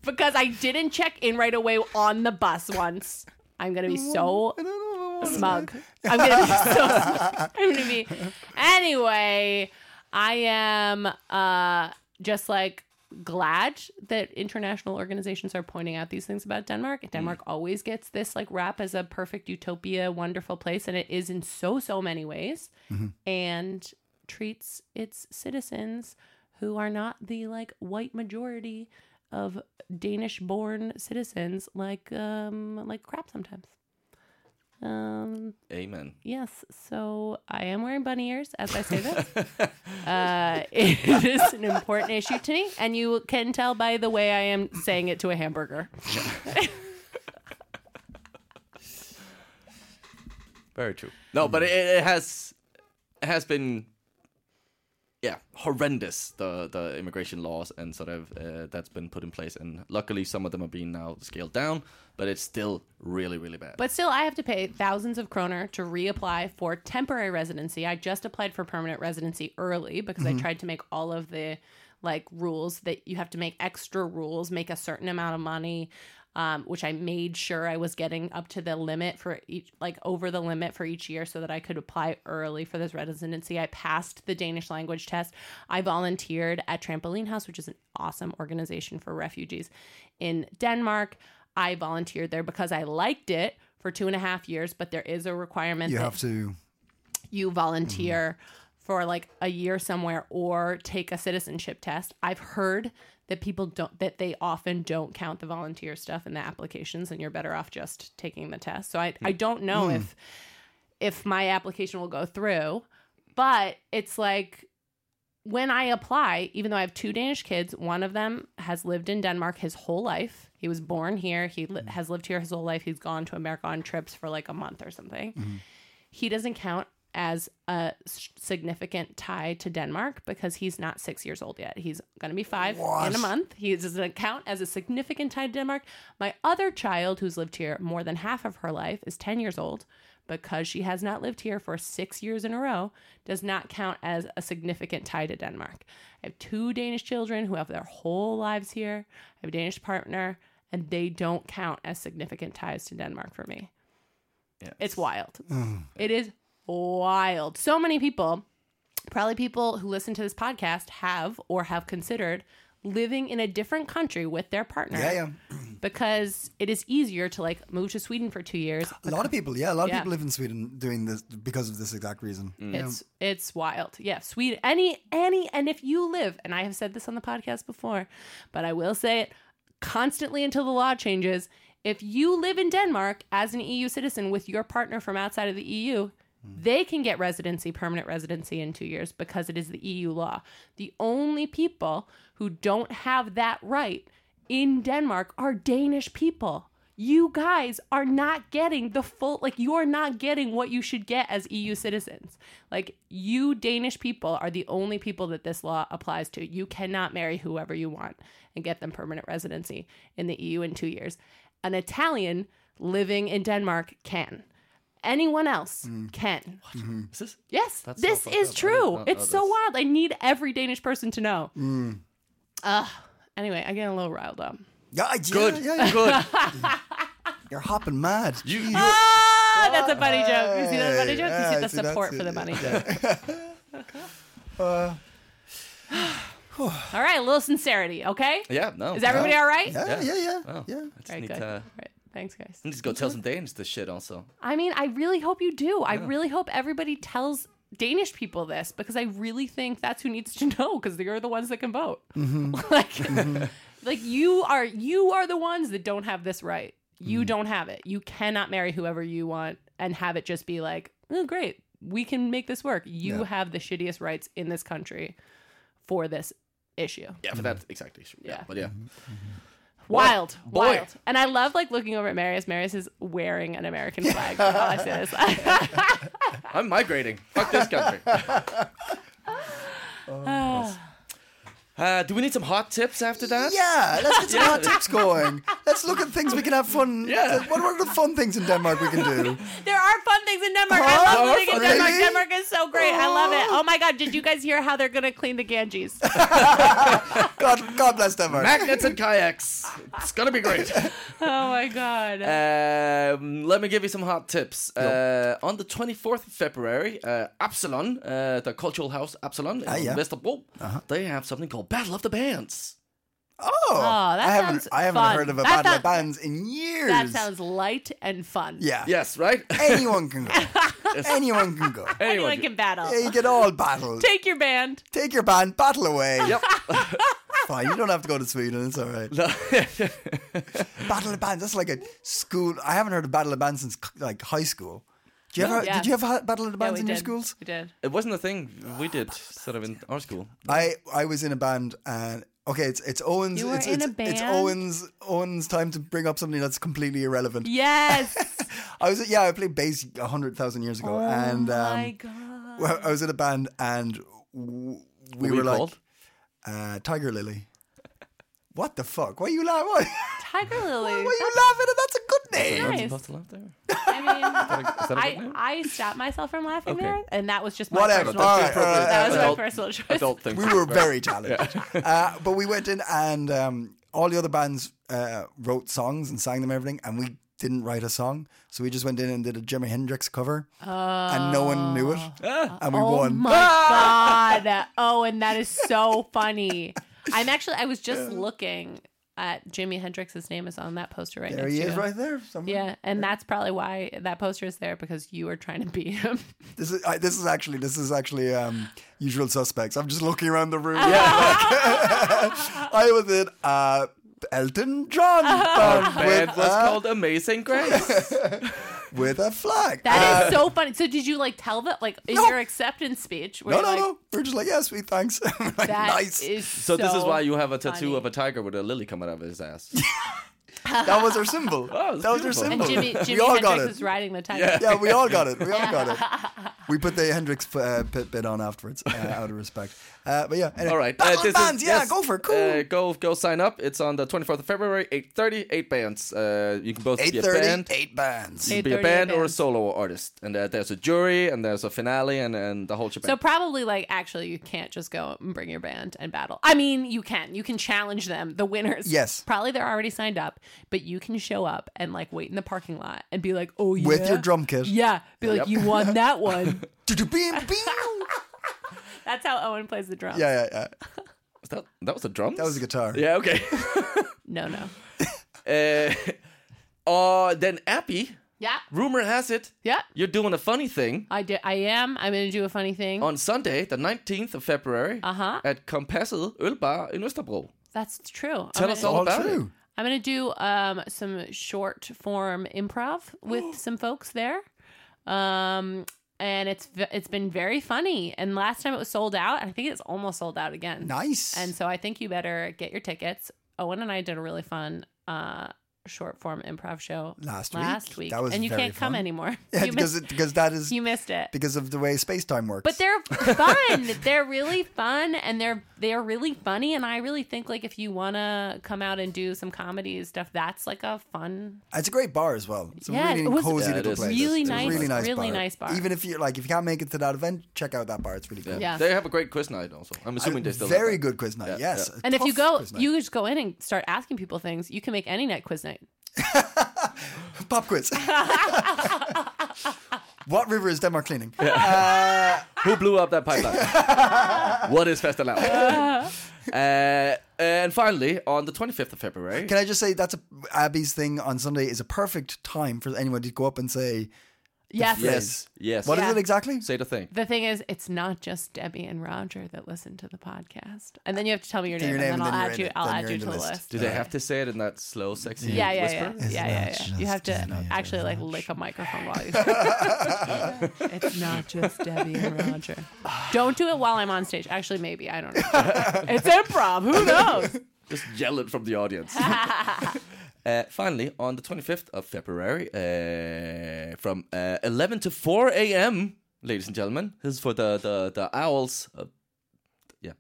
because I didn't check in right away on the bus once, I'm gonna be so smug. I'm gonna be so. Smug. I'm gonna be. Anyway, I am uh, just like glad that international organizations are pointing out these things about Denmark. Denmark always gets this like rap as a perfect utopia, wonderful place, and it is in so so many ways, and treats its citizens who are not the like white majority of Danish born citizens like um like crap sometimes. Um Amen. Yes, so I am wearing bunny ears as I say this. uh, it is an important issue to me, and you can tell by the way I am saying it to a hamburger. Very true. No, but it, Mm-hmm. it has it has been yeah horrendous the the immigration laws and sort of uh, that's been put in place and luckily some of them are being now scaled down, but it's still really really bad. But still, I have to pay thousands of kroner to reapply for temporary residency. I just applied for permanent residency early because I tried to make all of the like rules that you have to make extra rules, make a certain amount of money, um, which I made sure I was getting up to the limit for each, like over the limit for each year so that I could apply early for this residency. I passed the Danish language test. I volunteered at Trampoline House, which is an awesome organization for refugees in Denmark. I volunteered there because I liked it for two and a half years, but there is a requirement You that have to. you volunteer for like a year somewhere or take a citizenship test. I've heard that people don't that they often don't count the volunteer stuff in the applications and you're better off just taking the test. So I I don't know if if my application will go through, but it's like when I apply, even though I have two Danish kids, one of them has lived in Denmark his whole life. He was born here. He li- has lived here his whole life. He's gone to America on trips for like a month or something he doesn't count as a s- significant tie to Denmark because he's not six years old yet. He's going to be five in a month. He doesn't count as a significant tie to Denmark. My other child, who's lived here more than half of her life, is 10 years old. Because she has not lived here for six years in a row, does not count as a significant tie to Denmark. I have two Danish children who have their whole lives here. I have a Danish partner, and they don't count as significant ties to Denmark for me. It's wild. Oh, it is wild. So many people, probably people who listen to this podcast, have or have considered living in a different country with their partner. Yeah, yeah. Because it is easier to like move to Sweden for two years. A lot of people, yeah, a lot of Yeah. Mm. people live in Sweden doing this because of this exact reason. It's it's wild. Yeah, Sweden. Any any and if you live, and I have said this on the podcast before, but I will say it constantly until the law changes. If you live in Denmark as an EU citizen with your partner from outside of the EU, they can get residency, permanent residency in 2 years because it is the EU law. The only people who don't have that right in Denmark are Danish people. You guys are not getting the full, like, you're not getting what you should get as EU citizens. Like, you Danish people are the only people that this law applies to. You cannot marry whoever you want and get them permanent residency in the EU in two years. An Italian living in Denmark can. Anyone else can. Is this? Yes, Mm. That's so this fucked is up. I did true. not know It's so this. Mm. wild. I need every Danish person to know. Ugh. anyway, I get a little riled up. Yeah, I- yeah, Good. Yeah, yeah. Good. You're hopping mad. You, Jeez. you, Ah, that's a bunny joke. You see that bunny Hey, joke? You yeah, see I the see that support too, for the yeah. Uh, bunny joke. all right, a little sincerity, okay? yeah, no. Is everybody all right? yeah, yeah, yeah, Wow. yeah. I just Very need good. to, All right, Thanks, guys. I need to go tell some Danes this shit also. I mean, I really hope you do. I really hope everybody tells Danish people this because I really think that's who needs to know because they're the ones that can vote. like, like you are you are the ones that don't have this right. You don't have it. You cannot marry whoever you want and have it just be like, oh, great, we can make this work. You have the shittiest rights in this country for this issue. Yeah, for that exact issue. Yeah, Yeah. but yeah. Wild, Boy. wild. And I love like looking over at Marius. Marius is wearing an American flag. while I say this. I'm migrating. Fuck this country. Ah. uh, do we need some hot tips after that? Yeah, let's get some hot tips going. Let's look at things we can have fun. Yeah. What are the fun things in Denmark we can do? There are fun things in Denmark. Huh? I There are love living in fun Denmark. things? Denmark is so great. I love it. Oh my god, did you guys hear how they're gonna clean the Ganges? God, God bless Denmark. Magnets and kayaks. It's gonna be great. Oh my god. Um, let me give you some hot tips. Uh, on the 24th of February, uh, Absalon, uh, the cultural house Absalon in yeah. Vesterbro, they have something called Battle of the Bands. Oh, that I haven't, sounds I haven't fun. heard of a That battle sounds- of bands in years. that sounds light and fun. Yeah. Yes, right? Anyone can go. Anyone can go. Anyone Anyone can battle. Yeah, you can all battle. Take, Take your band. your band, battle away. Yep. Fine, you don't have to go to Sweden. It's all right. Battle of bands. That's like a school. I haven't heard of battle of bands since like high school. Do you ever, Yeah. Did you have a battle of the Yeah, bands we in your did. schools? We did. it wasn't a thing we did sort of in our school. I I was in a band and okay, it's it's Owen's You were it's in it's, a it's band? Owen's Owen's time to bring up something that's completely irrelevant. Yes. I was yeah, I played bass a hundred thousand years ago, and um, Oh my god. well, I was in a band and w- we What were we like called? uh, Tiger Lily. What the fuck? Why are you laughing? Why, Tiger why are Lily. you laughing? at That's a good name. Nice. Supposed to laugh there? I mean, Is that a good I, name? I stopped myself from laughing Okay. there, and that was just my Whatever. personal All choice. right, all right, That was all right. my personal choice. adult thing. We were very talented, uh, but we went in and um, all the other bands uh, wrote songs and sang them and everything, and we didn't write a song, so we just went in and did a Jimi Hendrix cover, and no one knew it, and we Oh won. my god! Oh, and that is so funny. I'm actually. I was just looking at Jimi Hendrix's name is on that poster right there next he to is, you. right there. Somewhere. Yeah, and that's probably why that poster is there because you are trying to be him. This is I, this is actually this is actually um, Usual Suspects. I'm just looking around the room. I was in uh, Elton Oh. John band Band with, was a, called Amazing Grace. with a flag. Uh, That is so funny. So did you like tell them like in no. your acceptance speech? where no, you're no, like, no. We're just like, yeah, sweet, thanks. like, That nice. is so, this is why you have a tattoo funny. of a tiger with a lily coming out of his ass. That was our symbol. Oh, that's that was our beautiful. And symbol. And Jimmy, we Jimmy all got Hendrix it. is riding the tiger. yeah, we all got it. We all got it. We put the Hendrix uh, bit, bit on afterwards, uh, out of respect. Uh, but yeah, anyway. All right, Battle of this is- bands, yeah, yes, go for it, cool. Uh, go go sign up. It's on the 24th of February, 8:30. Eight bands. Uh, you can both be a 8.30, band. eight bands. Eight- Be a 8:30 band or a bands. solo artist, and uh, there's a jury, and there's a finale, and, and the whole shebang. So probably like actually you can't just go and bring your band and battle. I mean, you can. You can challenge them, the winners. Yes. Probably they're already signed up, but you can show up and like wait in the parking lot and be like, "Oh yeah." With your drum kit. Yeah. Be like, "You won that one." Beam, beam. That's how Owen plays the drums. Yeah, yeah, yeah. Was that, that was the drums? That was a guitar. Yeah, okay. No, no. uh, uh, then Appy, Yeah. rumor has it, Yeah. you're doing a funny thing I did. I am. I'm going to do a funny thing. on Sunday, the 19th of February, Uh-huh. at Compasset Ølbar in Østerbro. That's true. Tell I'm us gonna- all All about true. I'm gonna do um, some short form improv with some folks there, um, and it's v- it's been very funny. And last time it was sold out, and I think it's almost sold out again. Nice. And so I think you better get your tickets. Owen and I did a really fun uh, short form improv show Last week. last week, That was and you very can't come fun. anymore. Yeah, you, because, missed, it, because that is you missed it. because of the way space time works. But they're fun. they're really fun, and they're they're really funny. And I really think like if you wanna come out and do some comedy and stuff, that's like a fun. it's a great bar as well. It's a Yeah, really it was cozy Yeah, it little is. place. Really It's a nice- really nice, really bar. nice bar. Even if you like, if you can't make it to that event, check out that bar. It's really cool. Yeah. They have a great quiz night also. I'm assuming they still have Very that. good quiz night. Yeah, yes. yeah. And if you Tough go, quiz night. you just go in and start asking people things. You can make any night quiz night. pop quiz. what river is Denmark cleaning? Who blew up that pipeline? what is Festival? uh, and finally, on the 25th of February, Can I just say that's a, Abby's thing on Sunday is a perfect time for anyone to go up and say Yes. Yes. Yes. what is Yeah. it exactly? say the thing. The thing is, it's not just Debbie and Roger that listen to the podcast. And then you have to tell me your name, your and then, name and I'll then you're add in you. it. I'll Then add you're you in to the the list. list. Do they have to say it in that slow, sexy Yeah, yeah, yeah, whisper? yeah, yeah, yeah. not You have just- it's to not actually just like Roger. lick a microphone while you. say it. it's not just Debbie and Roger. Don't do it while I'm on stage. Actually, maybe I don't know. it's improv. Who knows? Just yell it from the audience. uh, finally, on the 25th of February, uh, from uh, 11 to 4 a.m., ladies and gentlemen, this is for the, the, the owls. Uh, yeah.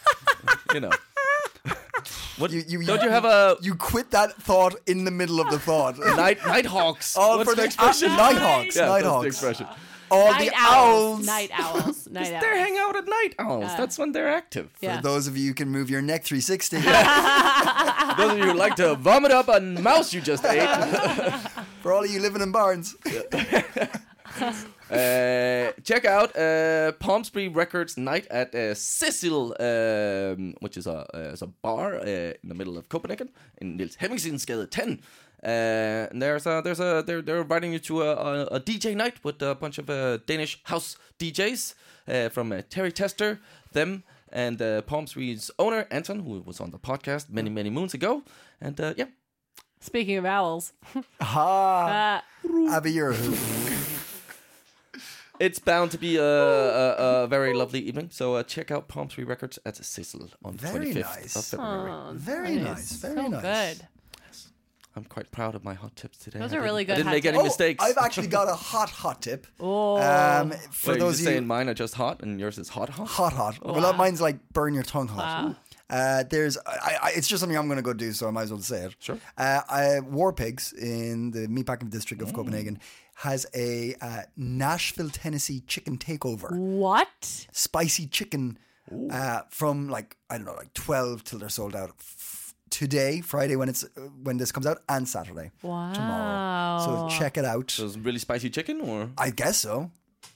you know. What, You- you- don't you have a You quit that thought in the middle of the thought. night nighthawks? All What's for the the- expression? uh, nighthawks, Yeah, that's nighthawks. the expression. All night the owls. Night owls. Night owls. They hang out at night owls. That's when they're active. Yeah. For those of you who can move your neck 360, Those of you who like to vomit up a mouse you just ate. for all of you living in barns, Uh, check out uh, Palm Spree Records night at uh, Cecil, um, which is a, uh, is a bar uh, in the middle of Copenhagen in Niels Hemmingsensgade 10. Uh, and there's a, there's a they're, they're inviting you to a, a, a DJ night with a bunch of uh, Danish house DJs uh, from uh, Terry Tester, them and uh, Palm Spree's owner Anton, who was on the podcast many many moons ago. And uh, yeah, Speaking of owls, Ah. Uh, Abby, you're a hoot. it's bound to be a, a, a very lovely evening. So uh, check out Palm Tree Records at Sissel on the Very 25th nice. of February. very nice, very so nice. oh, good. I'm quite proud of my hot tips today. Those I are really didn't- good I hot didn't make any tips. Oh, mistakes. I've actually got a hot hot tip. Oh. Um, for those Wait, you're of you saying mine are just hot and yours is hot hot? hot, hot. Well, that mine's like burn your tongue hot. Uh, there's, I, I, it's just something I'm going to go do, so I might as well say it. Sure. Uh, I, War Pigs in the meatpacking district of Copenhagen has a uh, Nashville, Tennessee chicken takeover. What? Spicy chicken uh, from like I don't know, like twelve till they're sold out. F- today, Friday when it's uh, when this comes out, and Saturday. Tomorrow. Wow. So check it out. So it's really spicy chicken, or I guess so.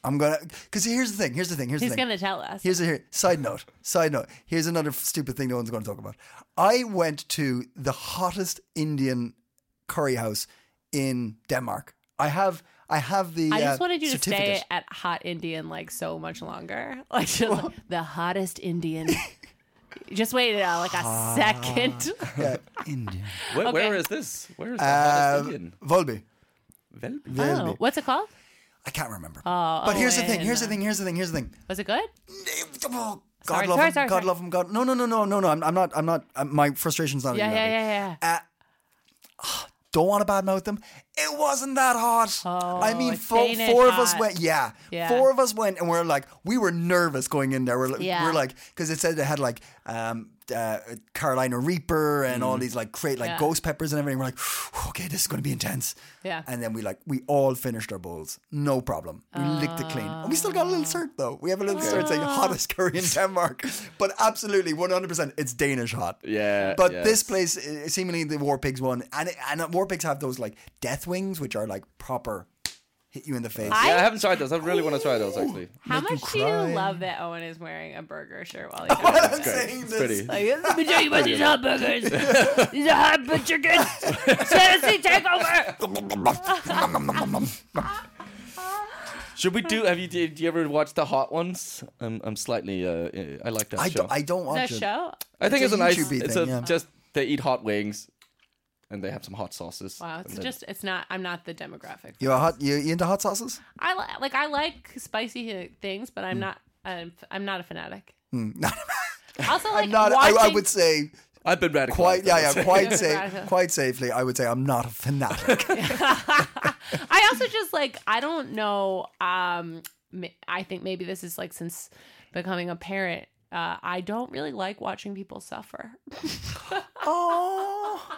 I'm gonna because here's the thing. Here's the thing. Here's He's the thing. going to tell us. Here's a here, side note. Side note. Here's another f- stupid thing no one's going to talk about. I went to the hottest Indian curry house in Denmark. I have I have the. I uh, just wanted you to certificate. stay at hot Indian like so much longer. Like just like, the hottest Indian. just wait uh, like Ah. a second. Yeah, Indian. where, where Okay. is this? Where is the hottest Um, Indian? Volby. Velby. oh, what's it called? I can't remember. Oh, but here's the thing. Owen. Here's the thing. Here's the thing. Here's the thing. Was it good? Oh, God Sorry, love sorry, him. sorry, God sorry. love him. God. No, no, no, no, no, no. I'm, I'm not. I'm not. I'm, my frustration's not. Yeah, at you, yeah, Abby. yeah, Uh, don't want to badmouth them. It wasn't that hot. I mean, Oh, it's fo- Danish four of us hot. went. Yeah, Yeah. four of us went, and we're like, we were nervous going in there. We're, li- Yeah. we're like, because it said it had like um, uh, Carolina Reaper and all these like great like Mm. Yeah. ghost peppers and everything. We're like, okay, this is going to be intense. Yeah. And then we like we all finished our bowls, no problem. We licked it clean. And we still got a little cert though. We have a little cert saying hottest curry in Denmark, but absolutely 100%, it's Danish hot. Yeah, But this yes. place, uh, seemingly the War Pigs won, and and War Pigs have those like death wings, which are like proper hit you in the face. I- Ah, Yeah, I haven't tried those. I really want to try those actually. How Make you much do you cry. love that Owen is wearing a burger shirt while he's doing I'm this? saying It's this. pretty. Like, Let me tell you about these hot burgers. these are hot but chicken. Tennessee takeover. Should we do? Have you did you ever watch the hot ones? I'm I'm slightly uh, uh, I like that I show. don't, I don't watch That it. show. I think It's it's, a a nice. YouTube-y it's thing, a, yeah. just they eat hot wings, and they have some hot sauces. Wow, and it's then- just it's not. I'm not the demographic. You a hot? You, you into hot sauces? I li- like I like spicy uh, things, but Mm. I'm not. I'm, I'm not a fanatic. also, like Not. I, watching, I would say I've been radicalized. quite. I would Yeah, yeah. say. Quite Radical. safe. Quite safely, I would say I'm not a fanatic. I also just like I don't know. Um, m- I think maybe this is like since becoming a parent. Uh, I don't really like watching people suffer. oh,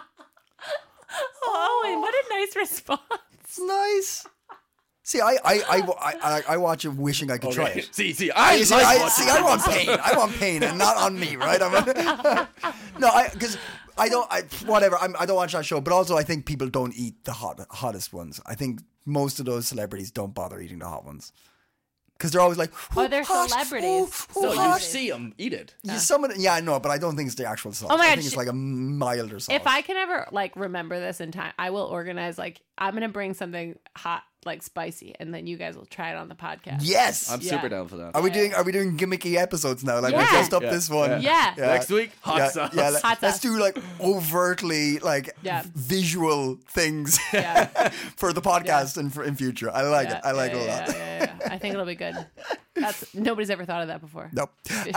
Oh, and what a nice response! it's nice. See, I, I, I, I, I, I watch it wishing I could try Okay. it. see, see, I You see, like I, watching see, I want pain. I want pain, and not on me, right? I'm no, I because I don't. I whatever. I'm, I don't watch that show, but also I think people don't eat the hot hottest ones. I think most of those celebrities don't bother eating the hot ones because they're always like, Oh, "Who they're hot? celebrities. Who, who No, you hot?" see them eat it. You- someone, yeah, I know, but I don't think it's the actual sauce. Oh my I God, think it's sh- like a milder sauce. If I can ever like remember this in time, I will organize like I'm gonna bring something hot, like spicy, and then you guys will try it on the podcast. yes, I'm Yeah. super down for that. are we doing are we doing gimmicky episodes now? Like we Yeah. dressed up Yeah. this one. Yeah. Yeah. Next week, hot yeah, sauce. yeah, let- Hot let's sauce. do like overtly like Yeah. v- visual things Yeah. for the podcast and for in future. I like it. I like yeah, it a yeah, lot. yeah, yeah, yeah. I think it'll be good. That's nobody's ever thought of that before. Nope. Uh,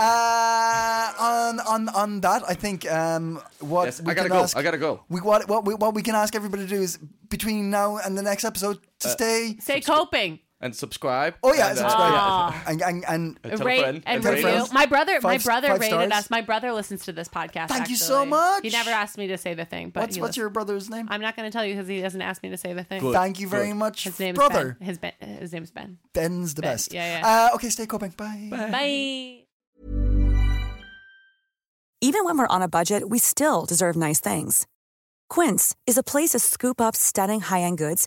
on on on that, I think um, what Yes, we I gotta can go. ask- I gotta go. We what what we, what we can ask everybody to do is between now and the next episode Uh, to stay. Say coping. And subscribe. Oh yeah, and, uh, uh, subscribe yeah. Ah. and and, and Tell a rate friend and and rate review. us. My brother, my Five- brother five rated stars. us. My brother listens to this podcast. Thank you so actually. much. He never asked me to say the thing, but what's he what's listens. your brother's name? I'm not going to tell you because he doesn't ask me to say the thing. Thank you very Good. much, His name's brother. Ben. His ben. His name's Ben. Ben's the Ben, best. yeah, yeah. Uh, okay, stay coping. Bye. Bye. Even when we're on a budget, we still deserve nice things. Quince is a place to scoop up stunning high-end goods